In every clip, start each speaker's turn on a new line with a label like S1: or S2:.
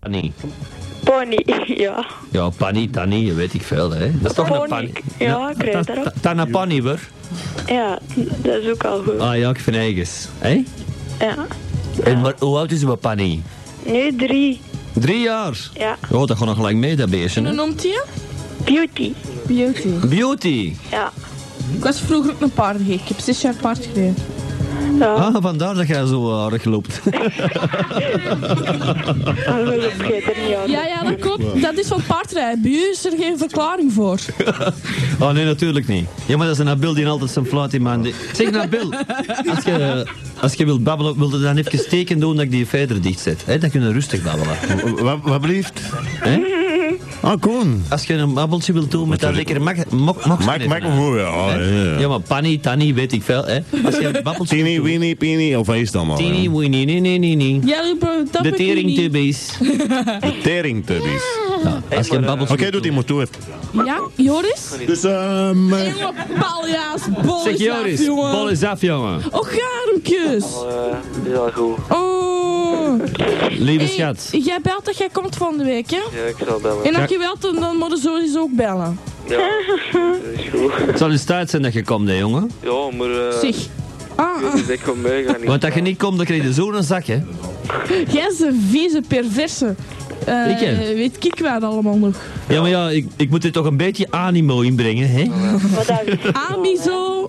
S1: Panny.
S2: Pony, ja.
S1: Ja, Panny, Tanny, weet ik veel. Hè. Dat is toch een Panny?
S2: Ja, ik weet dat ook.
S1: Tanapanny, hoor.
S2: Ja, dat is ook al goed.
S1: Ah ja, ik vind eigens. Hé?
S2: Ja.
S1: En maar hoe oud is uw Panny?
S2: Nu drie.
S1: Drie jaar.
S2: Ja.
S1: Oh, dat gaat nog gelijk mee, dat beestje.
S3: En hoe
S1: hè.
S3: noemt hij je?
S2: Beauty.
S3: Beauty.
S1: Beauty.
S2: Ja.
S3: Ik was vroeger ook een paardengek. Ik heb zes jaar paard gereden.
S2: Ja,
S1: Ah, vandaar dat jij zo aardig loopt.
S2: ongeluk geeft er niet aan.
S3: Ja, ja, dat klopt. Dat is van paardrijden. Bij u is er geen verklaring voor.
S1: Oh nee, natuurlijk niet. Ja, maar dat is een Nabil die altijd zijn fluit in mijn handen- Zeg Nabil, als je, als je wilt babbelen, wil je dan even teken doen dat ik die verder dicht zet. Hè? Dan kun je rustig babbelen.
S4: Wat, wat blieft?
S1: Hè?
S4: Ah, Koen.
S1: Als je een babbeltje wilt doen met dat lekkere mak... mok, mok,
S4: Maak, maak me voor, ja. ja, ja.
S1: Ja, maar Panny, Tanny, weet ik veel. Hè? Als je een babbeltje
S4: Tini, Oh, Winnie, Pini, of wat is het allemaal?
S1: Tini, weenie, nee, nee, nee, nee.
S3: Ja, bro, dat
S1: De
S3: weet ik niet.
S1: teringtubbies.
S4: Teringtubbies.
S1: Nou, als je een babbeltje
S4: Oké, doe die maar toe.
S3: Ja, Joris?
S4: Dus, ehm... eh,
S3: Jonge paljaas, bol
S1: Zeg
S3: is af,
S1: Joris,
S3: jongen.
S1: bol is af, jongen.
S3: Och, garoekjes.
S5: Eh, is al goed.
S3: Oh.
S1: Lieve
S3: Hey,
S1: schat.
S3: jij belt dat jij komt van de week, hè?
S5: Ja, ik zal bellen.
S3: En als je wilt, dan- dan moet je sowieso ook bellen.
S5: Ja, dat is goed.
S1: Het zal eens tijd zijn dat je komt, hè, jongen.
S5: Ja, maar eh,
S3: Zeg.
S5: ik
S3: Ah,
S5: weet
S3: ah,
S5: niet, ik kom mee gaan.
S1: Want als je niet komt, dan krijg je zo'n zak, hè.
S3: jij is een vieze perverse. Eh,
S1: Ik, hè?
S3: weet ik wat allemaal nog.
S1: Ja, maar ja, ik, ik moet er toch een beetje animo in brengen, hè?
S2: Maar dat is niet
S3: Amizo.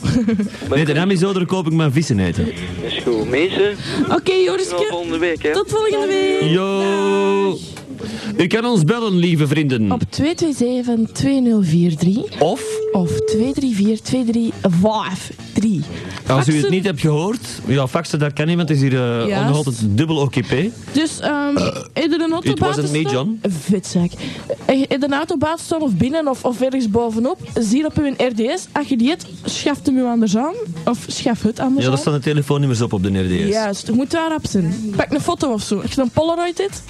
S1: Nee, de naam is zo, daar koop ik mijn vissen eten.
S5: Dat is goed. Mensen,
S3: Oké,
S5: tot
S3: Joriske.
S5: volgende week, hè.
S3: Tot volgende week.
S1: Yo! U kan ons bellen, lieve vrienden.
S3: Op 227-2043
S1: Of,
S3: of 234-235-3.
S1: als u het niet hebt gehoord, ja, faxen, dat kan niet, want het is hier eh,
S3: Juist.
S1: onderhand het dubbel occupé.
S3: Dus, ehm, in een auto
S1: it wasn't me,
S3: buiten staan- Vetzak. Eh, In een auto buiten staan of binnen of, of ergens bovenop, zie op uw RDS. Als je die hebt, schaft hem u anders aan. Of schaf het anders
S1: Ja, daar
S3: aan.
S1: staan de telefoonnummers op op de RDS.
S3: Juist, je moet daarop zijn. Pak een foto of zo. Als je een Polaroid hebt.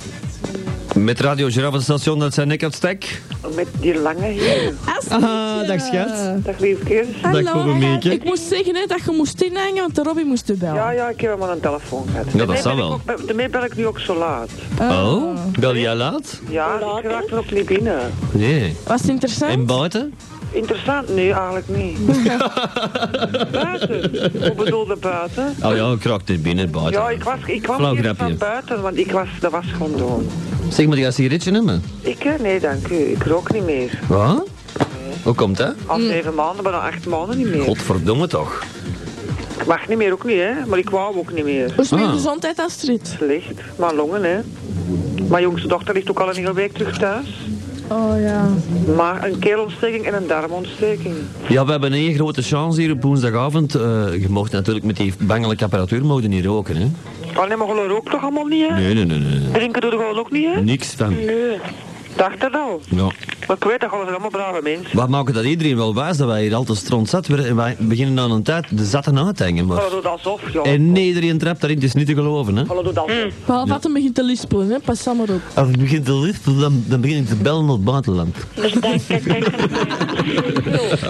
S1: Met Radio Giraffenstation, dat zijn nek op stek.
S6: Met die lange hier.
S1: Ah, dag schat.
S6: Dag liefje.
S3: Oh.
S1: Dag voor meekje.
S3: Ah, Ik moest zeggen hè, dat je moest inhangen, want de Robbie moest u bellen.
S6: Ja, ja, ik heb hem aan een telefoon gehad.
S1: dat
S6: Daarmee
S1: zal
S6: ben ik
S1: wel.
S6: ook- Daarmee ben ik nu ook zo laat.
S1: Oh, bel jij laat?
S6: Ja, ik raak er ook niet binnen.
S1: Nee.
S3: Was het interessant?
S1: En buiten?
S6: Interessant? Nee, eigenlijk niet. buiten? Hoe bedoel je buiten?
S1: Oh ja, ik raak er binnen, buiten.
S6: Ja, ik was, ik kwam
S1: Flauw
S6: hier
S1: grapje.
S6: van buiten, want ik was, dat was gewoon doen.
S1: Zeg, maar, je een sigaretje nemen?
S6: Ik? hè? Nee, dank u. Ik rook niet meer.
S1: Wat? Hoe komt dat?
S6: Al zeven maanden, maar al acht maanden niet meer.
S1: Godverdomme toch.
S6: Ik mag niet meer, ook niet, hè. Maar ik wou ook niet meer.
S3: Hoe is mijn
S1: Ah.
S3: gezondheid, Astrid?
S6: Slecht. Mijn longen, hè. Mijn jongste dochter ligt ook al een hele week terug thuis.
S3: Oh ja.
S6: Maar een keelontsteking en een darmontsteking.
S1: Ja, we hebben een grote chance hier op woensdagavond. Eh, je mocht natuurlijk met die bangelijke apparatuur mogen niet roken, hè?
S6: Oh nee, maar gewoon rook toch allemaal niet, hè?
S1: Nee, nee, nee, nee. nee.
S6: Drinken doe je gewoon ook niet, hè?
S1: Niks van.
S6: Nee. Dacht dat al.
S1: Ja.
S6: Maar ik weet dat gewoon allemaal brave mensen.
S1: Wat maken dat iedereen wel wijs dat wij hier altijd stront zat werden en wij beginnen aan een tijd de zatten aan te hangen,
S6: Hallo,
S1: maar...
S6: doe dat alsof, joh.
S1: En iedereen trapt daarin, het is niet te geloven, hè?
S6: Hallo, doe dat alsof.
S3: Behalve dat hem begint te lispelen, hè. pas allemaal op.
S1: Als het begint te liften, dan, dan begin ik te bellen naar het buitenland.
S2: Dus dan- kijk, kijk,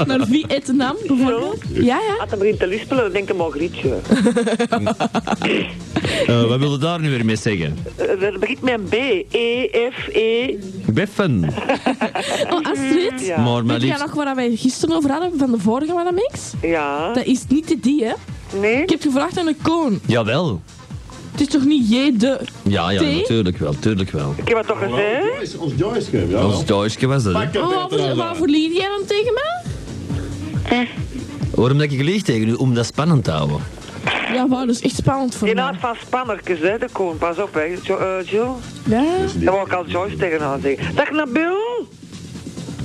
S3: Naar Vietnam bijvoorbeeld. Ja, ja.
S6: Als hij begint te lispelen, dan denk ik maar Grietje.
S1: Eh wat willen daar nu weer mee zeggen?
S6: Eh, Dat begint met een B. E, F, E.
S1: Beffen.
S3: Oh, Astrid.
S6: Ja.
S1: Maar maar
S3: Weet jij
S1: liefst...
S3: nog waar wij het gisteren over hadden, van de vorige Wanamix?
S6: Ja.
S3: Dat is niet de die, hè?
S6: Nee?
S3: Ik heb gevraagd aan een koon.
S1: Jawel.
S3: Het is toch niet je de...
S1: Ja, ja,
S3: Thee?
S1: natuurlijk wel, natuurlijk wel.
S6: Ik heb het toch gezegd?
S4: Ons Joyce Game, ja.
S1: Ons Duitsje was dat, hè?
S3: Oh, waar- waarvoor liet jij dan tegen mij?
S1: Waarom dat ik lieg tegen u? Om dat spannend te houden.
S3: Ja, wauw, dat is echt spannend voor
S6: Die
S3: mij.
S6: naad van spannertjes, hè, de koon. Pas op, hè. Jo eh, Jill.
S3: Ja.
S6: Daar wou ik al Joyce tegenaan zeggen. Dag, Nabil!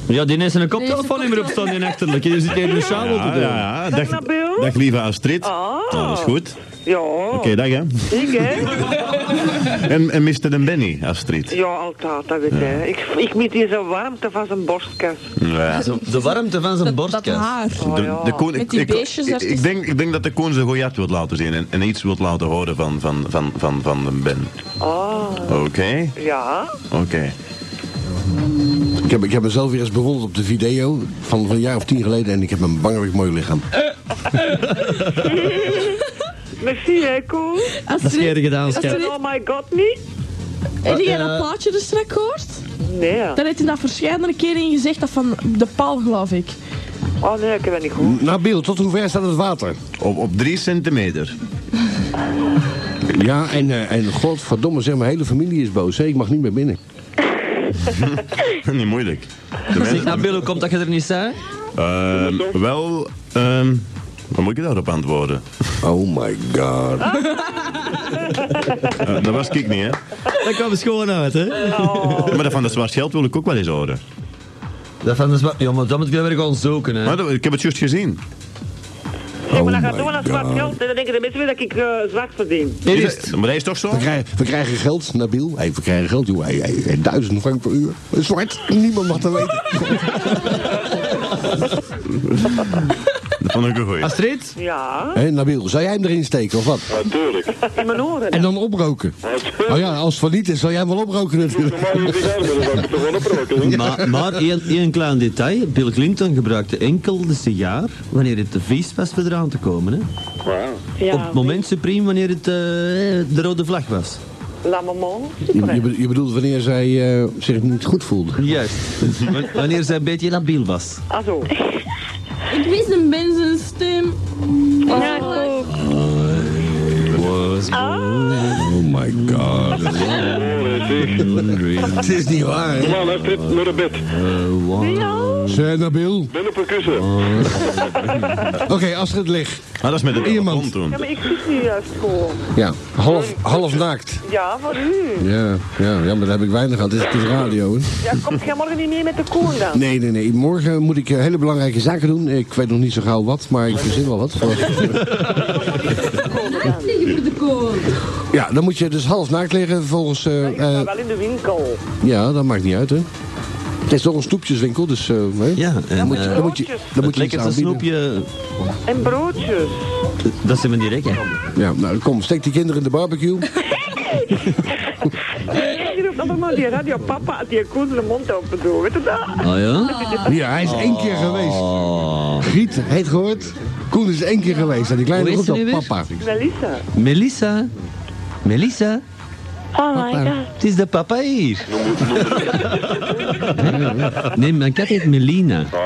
S1: Ja, die heeft een
S3: koptelefoon
S1: koptelefoon op staan, die achterlijk. Je zit hier een sjouwel
S4: Ja,
S1: te doen.
S4: ja, ja.
S6: Dag,
S4: Dag,
S6: Nabil.
S4: dag lieve Astrid.
S3: Oh.
S6: Ah.
S4: Nou, dat is goed.
S6: Ja,
S4: Oké, dag hè.
S6: ik, hè.
S4: En, en Mr. en Benny, Astrid.
S6: Ja, altijd, dat weet hè. Ik, ik mis die zo warmte van zijn borstkas.
S4: Ja. Oh,
S1: Zo, De warmte van zijn
S3: Dat
S1: borstkas.
S3: haar.
S4: De, de koning,
S3: Met die
S4: ik,
S3: beestjes
S4: ik,
S3: ertussen.
S4: ik, denk, ik denk dat de koning zijn goeiat wil laten zien en, en iets wil laten horen van, van, van, van, van de Ben.
S6: Ah,
S4: Oké,
S6: ja.
S4: oké.
S7: Ik heb, ik heb mezelf weer eens bewonderd op de video van, van een jaar of tien geleden en ik heb een bangelijk mooi lichaam.
S6: Merci, hè, Koen.
S1: Dat is
S3: Astrid,
S1: eerder gedaan, schat.
S3: Astrid,
S6: Oh my god, nou niet?
S3: Heb jij dat plaatje er straks gehoord?
S6: Nee.
S3: Daar heeft hij dat verschillende keren in gezegd, dat van de paal geloof ik.
S6: Oh nee, ik heb dat niet goed.
S7: Nabil, nou, tot hoe ver staat het water?
S4: Op, op drie centimeter.
S7: Ja, en, eh, en godverdomme, zeg, mijn hele familie is boos. Hè? Ik mag niet meer binnen.
S4: Niet moeilijk. De
S1: Zeg,
S4: mensen-
S1: Nabil, hoe komt dat je er niet zei?
S4: Ehm, wel, ehm hoe moet ik daarop antwoorden?
S7: Oh my god.
S4: Eh, dat was ik niet, hè?
S1: Dat kwam schoon uit, hè?
S4: Maar dat van dat zwart geld wil ik ook wel eens horen.
S1: Dat van de zwa- Ja, maar dat moet je weer gaan zoeken, hè?
S4: Maar dat- ik heb het juist gezien.
S6: Nee, maar dat
S7: Oh
S6: gaat doen
S7: my
S6: als zwart
S7: God.
S6: geld. En dan denken de mensen weer dat ik eh, zwart verdien.
S1: Hier
S4: Is
S1: is-
S4: dat- maar dat is toch zo?
S7: We krijgen, we krijgen geld, Nabil. Hey, we krijgen geld, joh. Hey, hey, hey, duizend frank per uur. Zwart, niemand mag dat weten.
S4: Dat vond ik een goeie.
S1: Astrid?
S6: Ja,
S7: Hé, Nabil, zou jij hem erin steken of wat?
S5: Natuurlijk.
S6: in mijn oren.
S7: En dan oproken.
S5: Natuurlijk.
S7: Oh ja, als het van niet is, zal jij hem wel oproken natuurlijk.
S5: Normaal is het armen, dan zou ik het toch wel oproken.
S1: Maar, maar één, één klein detail. Bill Clinton gebruikte enkel de sigaar wanneer het te vies was voor eraan te komen. Hè?
S5: Wauw.
S6: Ja,
S1: Op het moment supreme wanneer het eh, de rode vlag was.
S6: La maman.
S7: Je, je be- je bedoelt wanneer zij eh, zich niet goed voelde.
S1: Juist. W- wanneer zij een beetje labiel was.
S6: Ah zo.
S3: Ik wist een mensen stem.
S2: Ja, ik ook.
S7: Oh my god. Het is niet waar, hè?
S5: Normaal heeft dit naar de bed.
S7: Zeg, Nabil.
S5: Ben op een kussen.
S7: Oké, Astrid ligt.
S4: Ah, dat is met een
S7: Iemand.
S4: telefoon toen.
S6: Ja, maar ik zit nu juist gewoon.
S7: Ja, half, half naakt.
S6: Ja, van u.
S7: Ja, ja, ja, maar daar heb ik weinig aan. Het is, het is radio, hè?
S6: Ja, kom jij morgen niet mee met de koen dan?
S7: Nee, nee, nee. Morgen moet ik eh, hele belangrijke zaken doen. Ik weet nog niet zo gauw wat, maar ik verzin wel wat. Ja, dan moet je dus half naakt liggen volgens... eh,
S6: Ik sta
S7: eh,
S6: wel in de winkel.
S7: ja, dat maakt niet uit, hè. Het is toch een snoepjeswinkel, dus... eh, hè?
S1: Ja, en
S7: Dan moet je,
S1: eh,
S7: dan moet je, dan moet
S1: het
S7: je iets
S1: lekkerste
S7: aanbieden.
S1: snoepje,
S6: En broodjes.
S1: dat zijn we niet rekken.
S7: Ja, nou kom, steek die kinderen in de barbecue.
S6: Je roept altijd maar die radio papa had die koen de mond open doen. Weet je dat?
S1: Ah ja?
S7: Ja, hij is één keer geweest. Giet, Oh. heet gehoord. Koen is één keer geweest. En die kleine
S1: Hoe
S7: roept
S1: heet
S7: al
S1: ze nu weer?
S7: papa.
S6: Melissa.
S1: Melissa. Melissa,
S2: Oh my god.
S1: het is de papa hier. Nee, mijn kat heet Melina.
S5: Ah,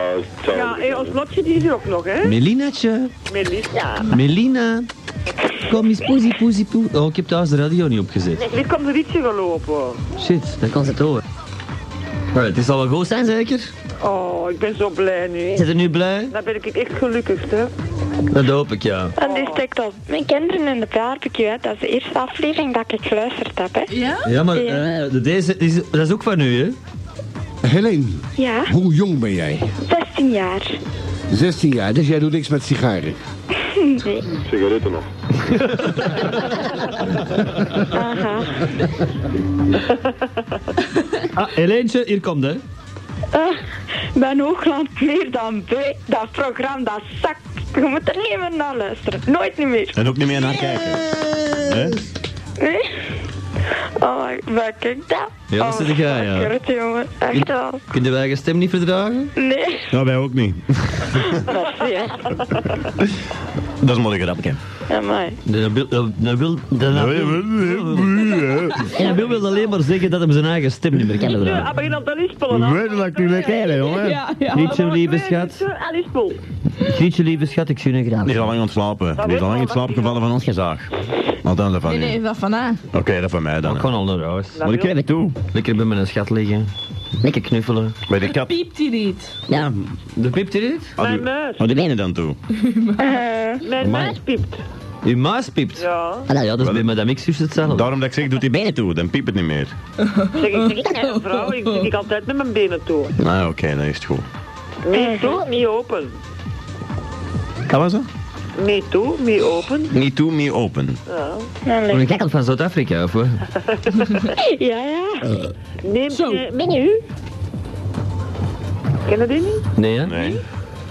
S5: ciao.
S6: Ja, en ons lotje die is er ook nog, hè?
S1: Melinatje.
S6: Melissa.
S1: Melina. Kom eens, poesie, poesie, poesie. Oh, ik heb thuis de radio niet opgezet.
S6: Dit komt een rietje gelopen.
S1: Shit, dan kan ze het horen. Alright, het is al wel goed zijn zeker?
S6: Oh, ik ben zo blij nu.
S1: Zit er nu blij?
S6: Dan ben ik echt gelukkig, hè?
S1: Dat hoop ik ja.
S2: En die steekt op. Mijn kinderen in de barbecue, hè. dat is de eerste aflevering dat ik geluisterd heb. Hè.
S3: Ja?
S1: Ja, maar eh, deze is, dat is ook van u, hè?
S7: Helene,
S2: Ja,
S7: hoe jong ben jij?
S2: 16 jaar.
S7: 16 jaar, dus jij doet niks met sigaren.
S5: Sigaretten nog.
S2: Aha.
S1: Ah, Heleentje, hier komt hè.
S2: Ben Hoogland meer dan bij. Dat programma, dat zakt. Je moet er niet meer naar luisteren. Nooit niet meer.
S4: En ook niet meer naar kijken. Hè?
S2: Nee? Oh, waar kijk dat?
S1: Ja, dat
S2: Oh,
S1: zit ik aan, ja.
S2: lekker, jongen. Echt wel.
S1: Kun je eigen stem niet verdragen?
S2: Nee,
S4: Ja, wij ook niet.
S2: merci, hè.
S4: Dat is een mooie grapje.
S2: Amai.
S1: Nabil, eh, Nabil, Nabil, Nabil wil alleen maar zeggen dat hij zijn eigen stem niet meer kan verdragen.
S6: Ah, begin al te lispelen, hè?
S3: Ja, ja.
S1: Niet zo lieve schat.
S6: Ah, Eh, lispel.
S1: Niet zo lieve schat, ik zie je graag.
S4: Die is al lang ontslapen. Die is al lang in slaap gevallen van ons gezaag. Nou, dan dat van
S3: Nee,
S4: u.
S3: nee, dat van haar.
S4: Oké, dat van mij dan.
S1: Ik
S4: hè.
S1: kan al naar huis.
S6: Maar ik weet
S1: het toe. Lekker bij mijn schat liggen. Lekker knuffelen.
S4: Bij Ah, de kat.
S3: Piept hij niet?
S1: Ja. Oh, De piept hier niet?
S4: Ah,
S6: Mijn muis.
S4: Wat doe jij dan toe?
S6: Mijn muis piept.
S1: Uw muis piept.
S6: Ja.
S1: Ah, nou ja, dat is bij madame X juist hetzelfde.
S4: Daarom dat ik zeg, doet die benen toe, dan piept het niet meer.
S6: Zeg, ik zeg, ik ben een vrouw, ik zeg ik altijd met mijn benen toe.
S4: Nou, oké, dan is het goed.
S6: Mee toe, mee open.
S4: Dat was het?
S6: Mee toe, mee open.
S4: Niet toe, meer open.
S1: Van een gekkel van Zuid-Afrika, of wat?
S2: Ja, ja.
S6: Neem
S3: Zo.
S6: je menu. Ken je die niet?
S1: Nee, hè?
S4: Nee.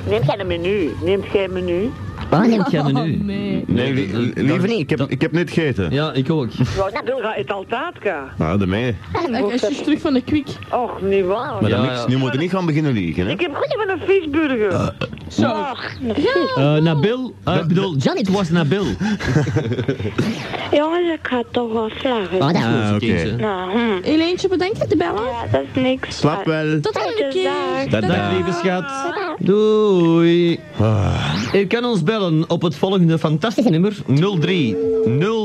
S6: Neem jij een menu. Neem jij een menu.
S1: Ah, neemt jij nu?
S3: Nee.
S4: Nee, li-
S1: dat- dat-
S4: liever niet. Ik heb,
S1: dat-
S4: ik heb net gegeten.
S1: Ja, ik ook.
S6: Ik wil gaan het altijd gaan.
S4: Ah, de mij.
S3: Hij is juist terug van de kwik.
S6: Och, niet waar.
S4: Maar
S1: Ja,
S4: dan niks.
S1: ja.
S4: Nu moet je niet gaan beginnen liegen, hè?
S6: Ik heb goed van een visburger.
S3: Zo.
S1: Eh, Nabil, eh, ik bedoel, het was Nabil.
S4: Ah,
S2: Jongens, ik ga toch wel slagen.
S8: Oh, daar.
S4: Ah, oké.
S1: Kindje.
S2: Nou, hm.
S3: Eentje bedankt voor de bellen.
S2: Ja, dat is niks.
S4: Slaap wel.
S3: Tot de volgende
S2: Dag.
S3: keer.
S4: Dag.
S1: Dag lieve schat. Doei.
S4: Ah.
S1: U kan ons bellen op het volgende fantastische nummer 03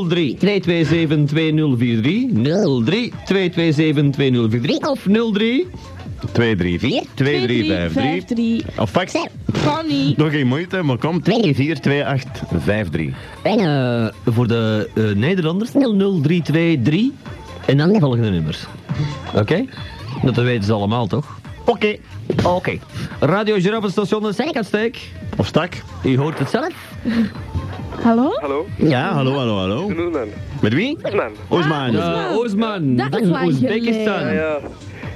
S1: 03 227 2043 03 227 2043 of 03
S4: 2, 3, 4. 2, 3, 5, 3.
S3: 3.
S4: Of fax.
S3: Fanny.
S4: Nog geen moeite, maar kom. 2, 4, 2, 8, 5, 3.
S8: En eh,
S1: voor de eh, Nederlanders 00323 en dan het volgende nummer. Oké? Dat weten ze allemaal toch?
S8: oké. Oké.
S1: Radio Giraffe station de Zijkantsteek.
S4: Of stak.
S1: U hoort het zelf.
S3: Hallo?
S5: Hallo?
S4: Ja, hallo, hallo, hallo.
S5: Noemen.
S4: Met wie? Nou,
S5: Noemen.
S4: Osman.
S1: Eh, Oosman
S3: Dat is
S1: van
S3: lang
S1: Oezbekistan.
S5: Ah, Ja.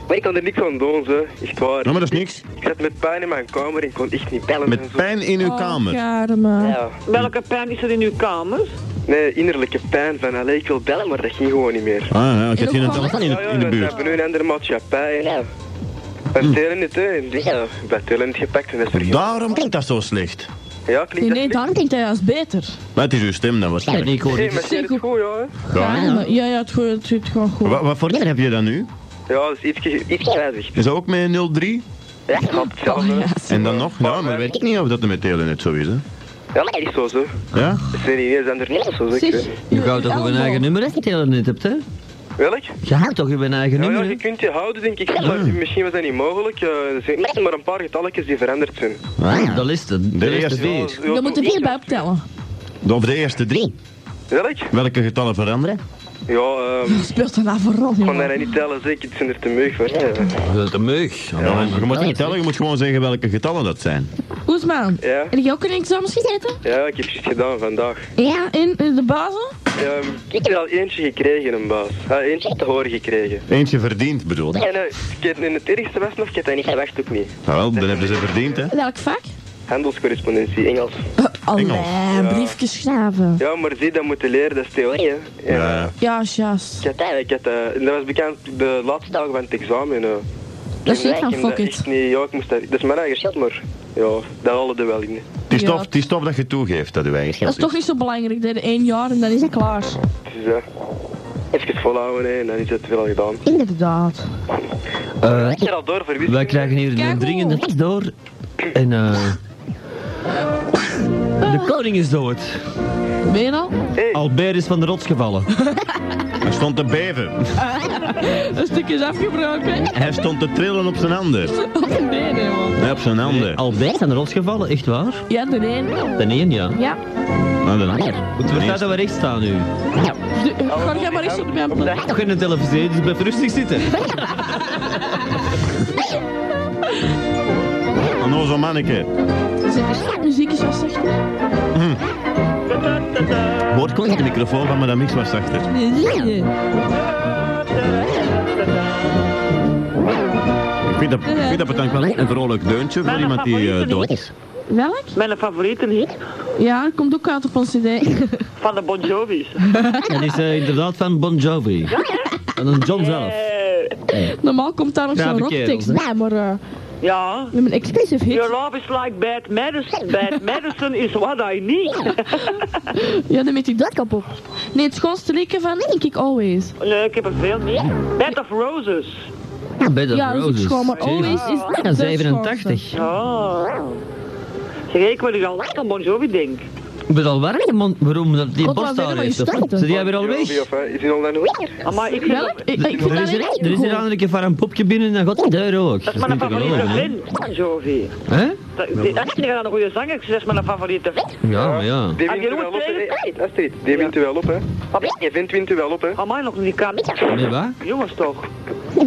S5: Maar ik kan er niks aan doen, ze. Echt waar.
S4: Nou, maar dat is niks.
S5: Ik zat met pijn in mijn kamer en kon echt niet bellen en
S4: Met
S5: zo.
S4: pijn in uw
S3: Oh,
S4: kamer.
S3: Karma.
S5: Ja.
S6: Welke pijn is er in uw kamer?
S5: Nee, innerlijke pijn van, allee, ik wil bellen, maar dat ging gewoon niet meer.
S4: Ah, ja, ik had geen
S3: ook
S4: telefoon in,
S5: Ja,
S4: het-
S5: ja,
S4: in de
S5: want we
S4: buurt. Hm.
S5: hebben nu een andere maatschappij. Ja. Bij Telenet, hè. en dit, Ja, bij Telenet gepakt en dat is vergeten.
S4: Daarom klinkt dat zo slecht.
S5: Ja, klinkt
S3: Nee,
S5: dat
S3: nee,
S5: slecht?
S3: daarom klinkt hij als beter.
S4: Maar het is uw stem dan
S1: Ja,
S4: waarschijnlijk.
S1: ik hoor
S5: Nee,
S1: het.
S5: maar het is goed, ja. hè.
S3: Karma. Ja, ja, het goed- het zit gewoon goed.
S4: Wat, wat voor nummer heb je dan nu?
S5: Ja, dat is iets, iets wijzig.
S4: Is dat ook met 03?
S5: Ja, ik snap hetzelfde.
S3: Ja,
S4: En dan nog? Ja, maar weet ik niet of dat er met Telenet zo is, hè.
S5: Ja, maar dat is zo, zo.
S4: Ja?
S5: Het zijn ineens andere nummers, zo. Ik
S3: zeg,
S5: weet. niet.
S1: Je houdt toch op een
S3: allemaal.
S1: eigen nummer als je het net hebt, hè?
S5: Welk?
S1: Je houdt toch op een eigen
S5: Ja, ja,
S1: nummer?
S5: je
S1: hè?
S5: kunt je houden, denk ik. Maar
S4: Mm.
S5: misschien was dat niet mogelijk. eh, er zijn echt maar een paar getalletjes die veranderd zijn. Dus
S1: Ah, dat is de, de eerste
S4: eerste.
S1: vier.
S5: Ja,
S3: Dan moet er veel bij optellen.
S4: Of de eerste drie.
S5: Welk?
S4: Welke getallen veranderen?
S5: Ja, ehm,
S3: Wat speelt er nou vooral?
S5: ik kon
S3: jongen?
S5: dat niet tellen, zeker. Het zijn er te meug voor. Ja,
S1: Dat is de meug.
S4: Ja, je moet niet tellen, je moet gewoon zeggen welke getallen dat zijn.
S3: Oesman,
S5: Ja.
S3: heb je ook in examens gezeten?
S5: ja ik heb het gedaan vandaag.
S3: Ja, in, in de bazen?
S5: Ehm, ik heb al eentje gekregen, een baas. Ja, eentje te horen gekregen.
S4: Eentje verdiend bedoel ik.
S5: En eh, ik heb- in het ergste was nog, ik heb dat niet verwacht ook niet.
S4: Nou wel, dan hebben ze verdiend, hè.
S3: Welk vak?
S5: Handelscorrespondentie, Engels.
S4: Eh,
S3: Alleen,
S5: Ja.
S3: briefjes schrijven.
S5: Ja, maar zie, dat moeten leren, dat is theorie, hè. En, eh,
S4: Ja.
S3: Ja, juist.
S5: Ik had eigenlijk, ik had, eh, dat was bekend de laatste dag van het examen. eh.
S3: Dat is
S5: En
S3: niet
S5: ik
S3: van
S5: heb dat
S3: fuck it.
S5: echt niet, ja, ik moest dat, dat is mijn eigen schuld, maar ja, dat hadden er wel in.
S4: Het is
S3: Ja.
S4: tof, het is tof dat je toegeeft dat u eigen
S3: Dat
S4: geld
S3: is toch niet zo belangrijk, dat één jaar en dan is het klaar.
S5: Dus ja, even volhouden hè, en dan is het wel al gedaan.
S3: Inderdaad.
S5: Ik ben al door voor wiskunde.
S1: Wij krijgen hier
S3: Kijk
S1: een
S3: hoe.
S1: dringende tekst door. En eh. De koning is dood.
S3: Ben je al?
S1: Albert is van de rots gevallen.
S4: Hij stond te beven.
S3: Een stukje is afgebroken.
S4: Hij stond te trillen op zijn handen.
S3: Op de benen, Oh, man.
S4: Nee, op zijn handen.
S1: Albert is van de rots gevallen, echt waar?
S3: Ja, de benen.
S1: De één, ja.
S3: Ja.
S4: Nou, dan
S1: Moeten we dat we recht staan nu?
S3: De- eh, Ga jij maar eens op mijn plek.
S1: Toch in de televisie, dus blijf rustig zitten.
S4: Een ozo Nou, manneke.
S3: Muziek is wel zacht.
S4: Hoort komt de microfoon van madame Mix was zachter. Ik vind dat, ik vind dat bedankt wel echt een vrolijk deuntje voor iemand die eh, dood is.
S3: Welk?
S6: Mijn favoriete hit
S3: Ja, dat komt ook uit op ons cd.
S6: van de Bon Jovi's.
S1: Dat is eh, inderdaad van Bon Jovi. En dan John zelf.
S6: Eh,
S3: Normaal komt daar nog
S1: Ja,
S3: zo'n
S1: de kerel.
S3: rocktekst bij, maar eh,
S6: Ja.
S3: we hebben een exclusive hit.
S6: Your love is like bad medicine. Bad medicine is what I need.
S3: Ja, dan met die doodkap op. Nee, het schoonste liedje van Denk ik Always.
S6: Nee, ik heb er veel meer. Bed of Roses.
S1: Bed of
S3: Ja, dat is ook
S1: Roses.
S3: schoon, maar Always is
S1: Ja,
S3: de
S1: 87.
S6: Oh. Zeg, ik word hier al lang aan Bon Jovi denk.
S1: Ik ben al warm, man. Waarom dat die
S3: God,
S1: borst
S3: wat
S1: daar
S3: willen we
S1: heeft?
S3: je
S1: of wat?
S3: starten?
S1: Zit jij weer al weg?
S5: Jovi of, eh, Is hij al dan weer?
S6: Maar ik vind
S3: Welk?
S6: dat...
S3: Ik, ik vond
S1: Er
S3: dat
S1: is
S3: echt
S1: er, er is hier
S3: goed.
S1: aan een keer van een popje binnen en dan gaat die deur ook.
S6: Dat is mijn favoriete vriend, Bon Jovi.
S1: Hè?
S6: Dat die- dat is niet een goede zanger, ik zeg, dat is mijn favoriete vriend.
S1: Ja, maar ja.
S5: Die
S6: Ah,
S5: wint
S6: die
S5: u wel op,
S6: roept tegen-
S5: hè. Astrid, die wint u wel op, hè. Je vindt wint u wel op, hè.
S6: Amai, nog niet kan.
S1: Nee, wat?
S6: Jongens toch.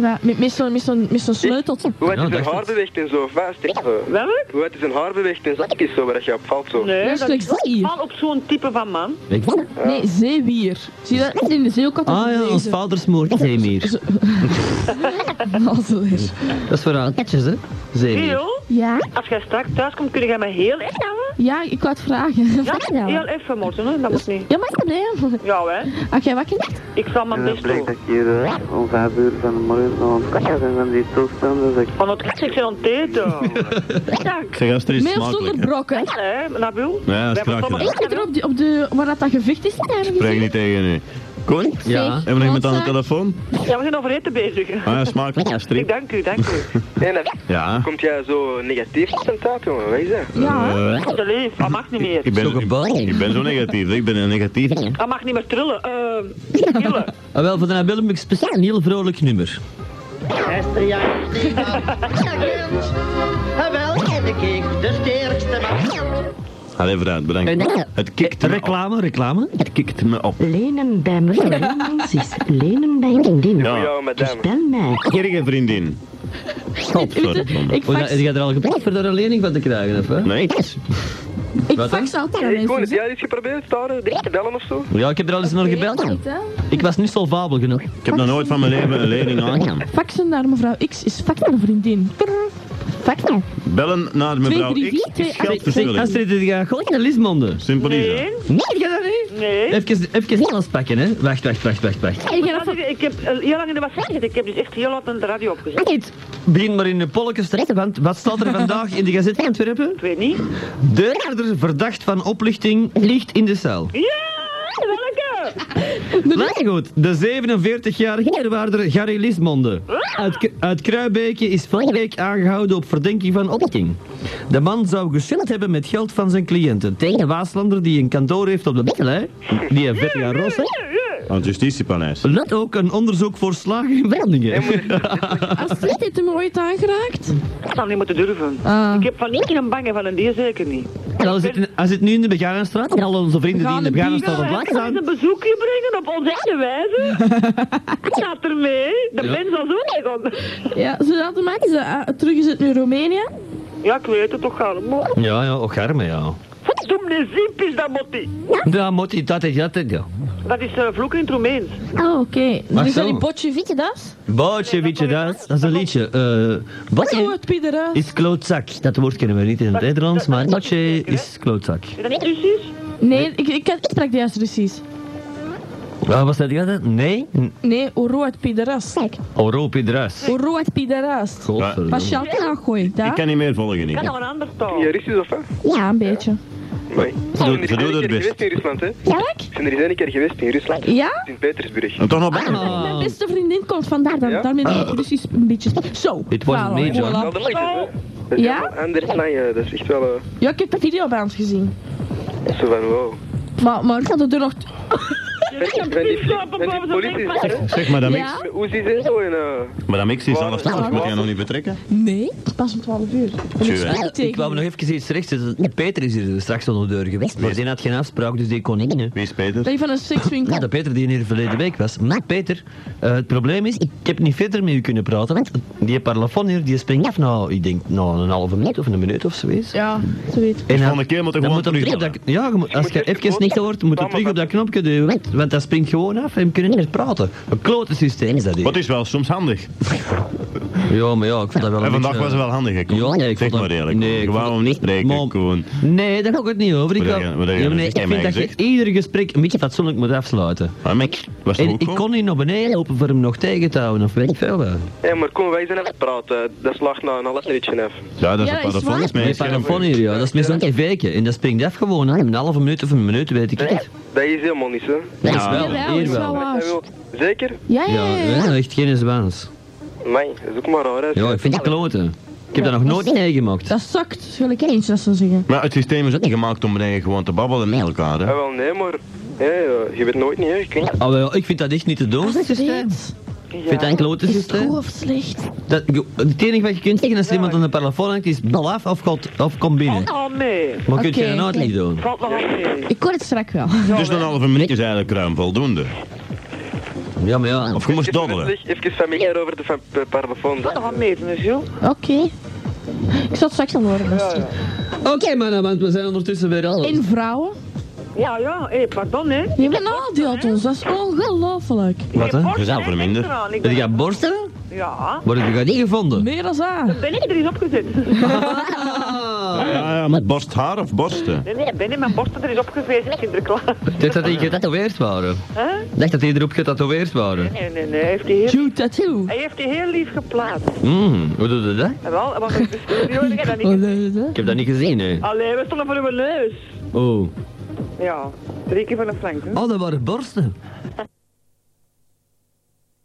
S3: Ja, met, met zo'n met zo'n- met zo'n sleutel.
S5: Hoe het
S1: Ja,
S5: is
S1: dat
S5: een
S1: is
S5: haar
S1: het.
S5: beweegt en zo, vast.
S6: Welk?
S5: Hoe het is een haar beweegt en zo, dat is zo waar dat je op valt zo.
S6: Nee,
S3: Dat is
S6: dat
S3: slechts
S6: is
S3: vier.
S6: allemaal op zo'n type van man.
S1: Ik-
S3: Nee, zeewier. Zie je dat? In de zeelkant.
S1: Ah ja, ons vadersmoord. Nee, meer.
S8: Dat is voor katjes, hè?
S1: Zeker.
S6: Theo,
S9: Ja?
S6: als jij straks thuis komt, kun je mij heel echt houden?
S9: Ja, ik wou het vragen.
S6: Ja,
S9: Wat nou?
S6: heel even, Morten, hè? dat moet niet.
S9: Ja, maar nee.
S6: Ja, hè?
S9: Als jij wakker bent?
S6: Ik zal mijn best doen.
S5: je om vijf uur eh, van de morgen nog aan het zijn van die toestanden. Dat
S6: Van het kast, ik ben aan het eten.
S4: Zeg, als er iets
S3: Meer zonder
S4: smakelijk, hè.
S3: brokken.
S6: Hé, Nabil?
S4: Ja, dat is
S6: Wij hebben
S4: kraken.
S6: sommige-
S9: Ik zit er op, die, op de... Waar dat, dat gevecht is.
S4: Spreek niet tegen nu. Koen,
S8: Ja.
S4: hebben we nog iemand aan de telefoon?
S6: Ja, we zijn over eten bezig.
S4: Ah, ja, smakelijk,
S6: Ik
S4: Astrid.
S6: dank u, dank u.
S5: En dan
S4: Ja. eh,
S5: komt jij zo negatief ten taak, jongen. Wat is dat?
S9: Ja.
S4: Eh,
S6: Te lief, dat mag niet meer.
S4: ik, ben,
S8: Zulke boring.
S4: ik, ik ben zo negatief. Ik ben een negatief.
S6: Dat mag niet meer trillen. Eh, trillen.
S1: Ah, wel, voor de Nabil heb ik speciaal een heel vrolijk nummer.
S4: Allee, vooruit, bedankt. Het kikt me
S1: Reclame, reclame.
S4: op. Het kikt me op.
S9: Lenen bij mevrouw Mensis. Lenen bij vriendin.
S5: Voor
S1: nou.
S4: Ja,
S5: jou, madame.
S1: Dus
S9: Bel mij.
S4: gerige vriendin. Godverdomme.
S9: Ik
S1: Oh, ja,
S9: fax,
S1: heb je er al gebruikt voor daar een lening van te krijgen? Of, hè?
S4: Nee,
S9: ik
S1: Wat
S9: fax altijd aan
S5: Ik kon het,
S9: mensen.
S5: jij iets geprobeerd, daar, eh, direct te bellen of zo?
S1: Ja, ik heb er al eens naar gebeld. Ik was niet solvabel genoeg.
S4: ik heb nog nooit van mijn leven een lening aangedaan.
S3: Faxen naar mevrouw X is fax naar vriendin.
S9: Fax
S4: Bellen naar mevrouw X is
S9: 234,
S4: geldverspilling.
S1: Astrid, je gaat gewoon naar Lismonde.
S4: Simpel is dat.
S6: Nee,
S1: Nee, ga dat niet.
S6: nee.
S1: Even, even alles pakken, hè. Wacht, wacht, wacht, wacht, wacht.
S9: mij. Ik ga dat
S6: Ik moet
S9: voor...
S6: zeggen, Ik heb eh, heel lang in de was gezeten. Ik heb dus echt heel laat aan de radio opgezet.
S1: Niet. Begin maar in de polletjes te retten, want wat staat er vandaag in de gazette van Antwerpen?
S6: Ik weet niet.
S1: Deurharder verdacht van oplichting ligt in de cel.
S6: Ja, welke?
S1: Lijkt goed. De 47-jarige herwaarder Gary Lismonde uit, K- uit Kruibeekje is vorige week aangehouden op verdenking van oplichting. De man zou geschild hebben met geld van zijn cliënten tegen een Waaslander die een kantoor heeft op de Bettelij, die een vettige ros heeft.
S4: Aan het justitiepaleis.
S1: Let ook een onderzoek voor slagen in België.
S3: Astrid heeft hem ooit aangeraakt.
S6: Ik zou niet moeten durven.
S3: Ah.
S6: Ik heb van één keer een bange van een dier zeker niet.
S1: Hij zit, in- hij zit nu in de Begaanstraat en al onze vrienden die in de Begaanstraat op
S6: Wij
S1: plaats
S6: gaan
S1: staan.
S6: een bezoekje brengen op onze eigen wijze. Ik ga er mee. De mens zal zo mee gaan.
S3: Ja, ze laten maken. Ze, ah, terug is het nu Roemenië.
S6: Ja, ik weet het toch allemaal.
S1: Ja, ja, ook arme, ja.
S6: Wat doe me ziep is dat motie.
S1: Ja, moet je dat, dat, dat, ja.
S6: Dat is eh, vloeken in het Roemeens.
S9: Oh, oké.
S1: Mag
S3: Dus
S1: zo.
S3: dat die botje, vind je dat?
S1: Bootje, weet je dat? Dat is een liedje. Eh
S3: Zo
S1: botje
S3: Oh, het Pieter uit.
S1: is klootzak. Dat woord kennen we niet in het Nederlands, maar botje is klootzak.
S6: Is dat niet dus Russisch?
S3: Nee, ik, ik, ik sprak die juist precies.
S1: Ah, wat zei je dat? Nee?
S3: Nee, rood piederas.
S1: Europa druis.
S3: Rood piederas. Pas je altijd aangooi,
S4: Ik
S3: daar?
S4: kan niet meer volgen,
S6: Dat is
S4: ik.
S6: een ander taal.
S5: Ja, Russisch of hè?
S9: Ja, een beetje.
S5: Nee.
S4: doen- ze doen het
S5: keer
S4: best.
S5: geweest in Rusland, hè?
S9: Ja, ik?
S5: Ik ben er eens één keer geweest in Rusland.
S9: Ja?
S5: Sint-Petersburg.
S4: En toch nog
S3: Ah,
S4: bij.
S3: nou.
S1: Ah.
S9: Mijn beste vriendin komt vandaar. Dan, Daarmee ben ik precies een beetje... Zo.
S1: It wasn't me, John.
S5: Wel de lekkers, hè? Dat is
S9: Ja?
S5: helemaal Anders dan je, dat is echt wel eh,
S3: Ja, ik heb de videoband gezien.
S5: zo van wow.
S9: Maar, maar ik had het er nog...
S5: Met die, met die politie, hè?
S4: Zeg, madame X.
S9: Ja?
S5: Met Oezies en zo en eh,
S4: Madame X is alles
S5: Ja.
S4: thuis. Moet jij nog niet betrekken?
S3: Nee, pas om 12 uur.
S4: Tjoe, hè.
S1: Ik wou nog even iets rechtzetten. Peter is hier straks al de deur geweest, maar die had geen afspraak, dus die kon niet. hè.
S4: Wie is Peter?
S3: Dat je van een
S1: Ja,
S3: sekswinkel.
S1: de Peter die hier verleden week was. Maar Peter, eh, het probleem is, ik heb niet verder met u kunnen praten, want die parlofoon hier, die springt af na, ik denk, na een halve minuut of een minuut of zoiets.
S3: Ja, zoiets.
S1: En
S4: volgende Dus keer moet je
S1: dan
S4: gewoon
S1: hem terug op dat,
S4: terugbellen.
S1: Ja, je moet- als
S5: moet
S1: je
S5: eerst het
S1: even niet
S5: woord
S1: hoort, moet je terug op dat
S5: samenvatten.
S1: knopje duwen, want, want dat springt gewoon af en we kunnen niet meer praten. Een klote systeem is dat hier.
S4: Wat is wel soms handig.
S1: Ja, maar ja, ik vond dat wel
S4: En
S1: een
S4: vandaag
S1: beetje-
S4: was het wel handig, hè, Koen?
S1: Ja, nee, ik
S4: Zeg
S1: vond
S4: maar
S1: dat-
S4: eerlijk.
S1: nee, ik
S4: ik wou
S1: vond-
S4: hem niet spreken,
S1: Mom.
S4: Koen.
S1: Nee, daar ga ik het niet over. Ik,
S4: Wat
S1: wou-
S4: heb je- wat heb je
S1: Ja, maar nee,
S4: gezegd?
S1: ik vind
S4: Heb je
S1: dat je
S4: gezegd?
S1: ieder gesprek een beetje fatsoenlijk moet afsluiten.
S4: Maar Mick, was het
S1: En
S4: ook
S1: ik kon niet naar beneden lopen voor hem nog tegen te houden, of weet ik veel wel.
S5: Ja, maar kom, wij zijn aan het praten. Dat slaagt na een half uurtje af.
S4: Ja, dat is
S3: Ja,
S4: een
S3: dat is waar.
S4: parafoon.
S1: Nee, parafoon hier, ja. Dat is meestal een veekje. En dat springt af gewoon, hè. Een halve minuut of een minuut, weet ik het.
S5: Dat is helemaal niet zo.
S1: Dat is wel,
S3: Jawel,
S1: hier
S3: is wel
S1: wel.
S3: waar.
S5: Dat wil- Zeker?
S9: Ja, ja,
S1: Ja,
S9: ja.
S1: ja, echt geen zwaans.
S5: Nee, dat is ook maar raar. hè.
S1: Ja, ik vind dat kloten. Ik heb dat nog nooit meegemaakt.
S3: Dat zakt, wil ik eens dat zo zeggen.
S4: Maar het systeem is ook niet gemaakt om beneden gewoon te babbelen met elkaar, hè?
S5: Ja, wel, nee, maar hè, eh, je weet nooit niet, hè. Je kunt-
S1: Ah, wel, ik vind dat echt niet te doen. Ik vind dat een klote
S9: Is het
S1: systeem.
S9: goed of slecht?
S1: Dat, jo, het enige wat je kunt zeggen als er iemand aan de parafoon hangt is bel af of, gaat, of kom binnen.
S6: Oh nee,
S1: Maar kun je
S9: Oké.
S1: dat nooit niet doen.
S6: valt nog aan mee.
S9: Ik kon het strak wel.
S4: Dus een halve minuut is eigenlijk ruim voldoende.
S1: Ja, maar ja. Of je moest doddelen.
S5: Even familiair over de van- parlofoon.
S6: Dat gaat meten, hè, Jules.
S9: Oké. Ik zal het straks al horen. beste.
S1: Oké, mannen, want we zijn ondertussen weer al.
S9: En vrouwen?
S6: Ja, ja, hé, pardon, hè.
S3: Je benadeelt ons, dat is ongelooflijk.
S1: Wat, hè?
S6: Borsten
S4: Gezellig voor
S6: en
S4: minder.
S6: extra, en ik
S1: Heb
S6: ben-
S1: je gaat borsten?
S6: Ja.
S1: Word je gaat niet gevonden?
S3: Meer dan aan.
S6: Ben ik er eens opgezet?
S4: Ja, ja, met borsthaar of borsten?
S6: Nee, nee, ben ik mijn borsten er eens opgeveegd, kinderklaar.
S1: Ik dacht dat die getatoeëerd waren.
S6: Hè?
S1: Ik dacht dat die erop getatoeëerd waren.
S6: Nee, nee, nee, heeft hij heel...
S3: Jew tattoo.
S6: Hij heeft die heel lief geplaatst.
S1: Mm, hoe doe je dat?
S6: En wel, want in de studio heb ik dat niet gezien.
S1: Ik heb dat niet gezien, hè.
S6: Allee, we stonden voor uw neus.
S1: Oh.
S6: Ja, drie keer van de flank, hè.
S1: Oh, dat waren borsten.